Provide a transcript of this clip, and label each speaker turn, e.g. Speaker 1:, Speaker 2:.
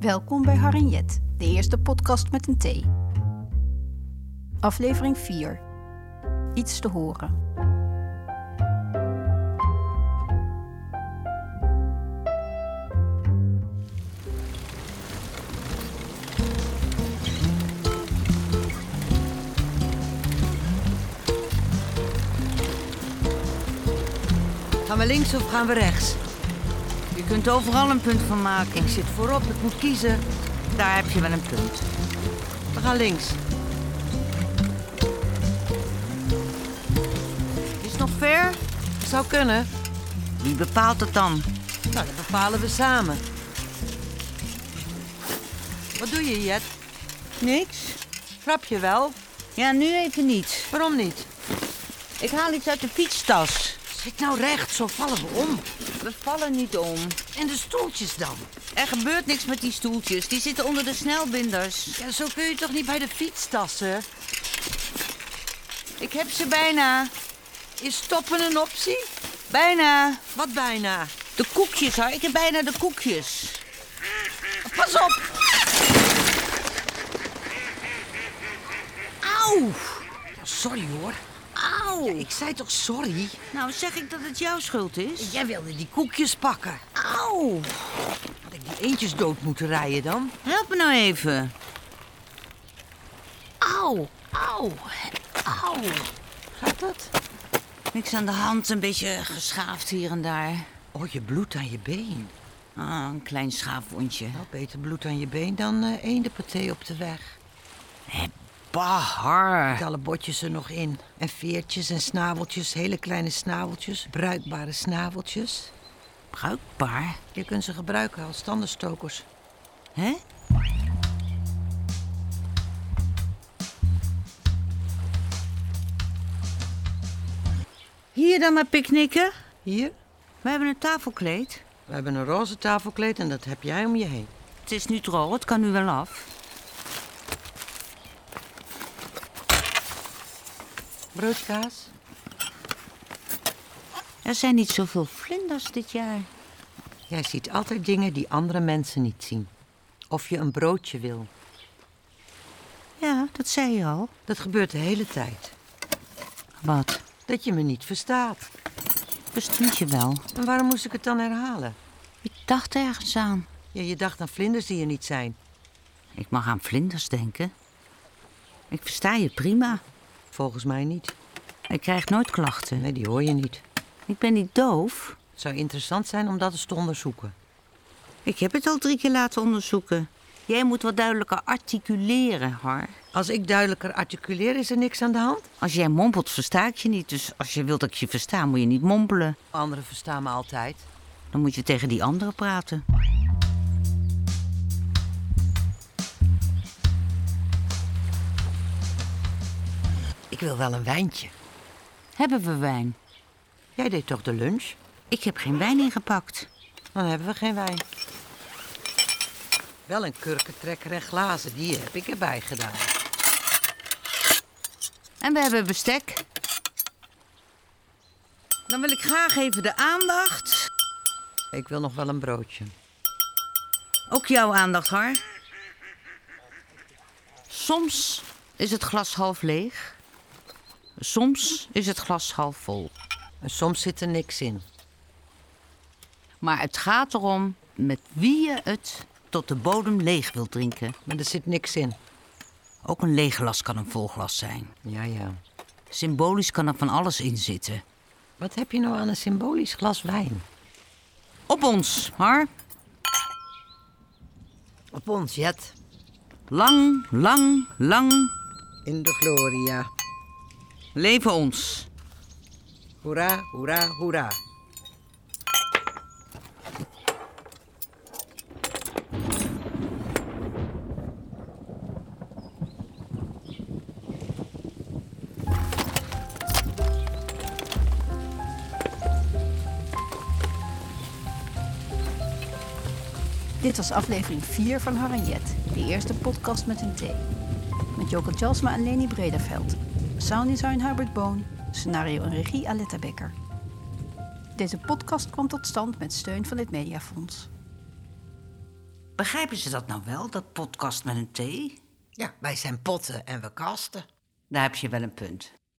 Speaker 1: Welkom bij Harinjet, de eerste podcast met een T. Aflevering 4. Iets te horen.
Speaker 2: Gaan we links of gaan we rechts? Je kunt overal een punt van maken. Ik zit voorop, ik moet kiezen. Daar heb je wel een punt. We gaan links. Is het nog ver? Het zou kunnen. Wie bepaalt het dan? Nou, dat bepalen we samen. Wat doe je, Jet?
Speaker 3: Niks?
Speaker 2: Trap je wel?
Speaker 3: Ja, nu even niet.
Speaker 2: Waarom niet?
Speaker 3: Ik haal iets uit de fietstas.
Speaker 2: Zit nou recht, zo vallen we om.
Speaker 3: We vallen niet om.
Speaker 2: En de stoeltjes dan?
Speaker 3: Er gebeurt niks met die stoeltjes. Die zitten onder de snelbinders.
Speaker 2: Ja, zo kun je toch niet bij de fietstassen?
Speaker 3: Ik heb ze bijna.
Speaker 2: Is stoppen een optie?
Speaker 3: Bijna.
Speaker 2: Wat bijna?
Speaker 3: De koekjes, hoor. Ik heb bijna de koekjes.
Speaker 2: Pas op!
Speaker 3: Auw!
Speaker 2: Ja, sorry hoor.
Speaker 3: Auw!
Speaker 2: Ik zei toch sorry?
Speaker 3: Nou, zeg ik dat het jouw schuld is?
Speaker 2: Jij wilde die koekjes pakken.
Speaker 3: Auw!
Speaker 2: Had ik die eentjes dood moeten rijden dan?
Speaker 3: Help me nou even.
Speaker 2: Auw, auw, auw. Gaat dat?
Speaker 3: Niks aan de hand. Een beetje geschaafd hier en daar.
Speaker 2: Oh, je bloed aan je been.
Speaker 3: Ah, een klein schaafwondje.
Speaker 2: Nou, beter bloed aan je been dan eh eendenpaté op de weg.
Speaker 3: Bahar.
Speaker 2: Met alle botjes er nog in. En veertjes en snaveltjes, hele kleine snaveltjes, bruikbare snaveltjes.
Speaker 3: Bruikbaar.
Speaker 2: Je kunt ze gebruiken als tandenstokers.
Speaker 3: Hè? Hier dan maar picknicken.
Speaker 2: Hier,
Speaker 3: We hebben een tafelkleed.
Speaker 2: we hebben een roze tafelkleed en dat heb jij om je heen.
Speaker 3: Het is nu droog, het kan nu wel af.
Speaker 2: Broodkaas.
Speaker 3: Er zijn niet zoveel vlinders dit jaar.
Speaker 2: Jij ziet altijd dingen die andere mensen niet zien. Of je een broodje wil.
Speaker 3: Ja, dat zei je al.
Speaker 2: Dat gebeurt de hele tijd.
Speaker 3: Wat?
Speaker 2: Dat je me niet verstaat.
Speaker 3: Bestond je wel?
Speaker 2: En waarom moest ik het dan herhalen?
Speaker 3: Ik dacht ergens aan.
Speaker 2: Ja, je dacht aan vlinders die er niet zijn.
Speaker 3: Ik mag aan vlinders denken. Ik versta je prima.
Speaker 2: Volgens mij niet.
Speaker 3: Ik krijg nooit klachten.
Speaker 2: Nee, die hoor je niet.
Speaker 3: Ik ben niet doof.
Speaker 2: Het zou interessant zijn om dat eens te onderzoeken.
Speaker 3: Ik heb het al drie keer laten onderzoeken. Jij moet wat duidelijker articuleren, Har.
Speaker 2: Als ik duidelijker articuleer, is er niks aan de hand?
Speaker 3: Als jij mompelt, versta ik je niet. Dus als je wilt dat ik je versta, moet je niet mompelen.
Speaker 2: Anderen verstaan me altijd.
Speaker 3: Dan moet je tegen die anderen praten.
Speaker 2: Ik wil wel een wijntje.
Speaker 3: Hebben we wijn?
Speaker 2: Jij deed toch de lunch?
Speaker 3: Ik heb geen wijn ingepakt.
Speaker 2: Dan hebben we geen wijn. Wel een kurkentrekker en glazen, die heb ik erbij gedaan.
Speaker 3: En we hebben bestek. Dan wil ik graag even de aandacht.
Speaker 2: Ik wil nog wel een broodje.
Speaker 3: Ook jouw aandacht, Har. Soms is het glas half leeg. Soms is het glas half vol.
Speaker 2: En soms zit er niks in.
Speaker 3: Maar het gaat erom met wie je het tot de bodem leeg wilt drinken.
Speaker 2: Maar er zit niks in.
Speaker 3: Ook een leeg glas kan een vol glas zijn.
Speaker 2: Ja, ja.
Speaker 3: Symbolisch kan er van alles in zitten.
Speaker 2: Wat heb je nou aan een symbolisch glas wijn?
Speaker 3: Op ons, Har.
Speaker 2: Op ons, Jet.
Speaker 3: Lang, lang, lang
Speaker 2: In de gloria.
Speaker 3: leven ons.
Speaker 2: Hoera, hoera, hoera.
Speaker 1: Dit was aflevering 4 van Harinjet, de eerste podcast met een T. Met Joke Jasma en Leni Brederveld. Sounddesign Hubert Boon. Scenario en regie Aletta Becker. Deze podcast kwam tot stand met steun van het Mediafonds.
Speaker 3: Begrijpen ze dat nou wel, dat podcast met een T?
Speaker 2: Ja, wij zijn potten en we kasten.
Speaker 3: Daar heb je wel een punt.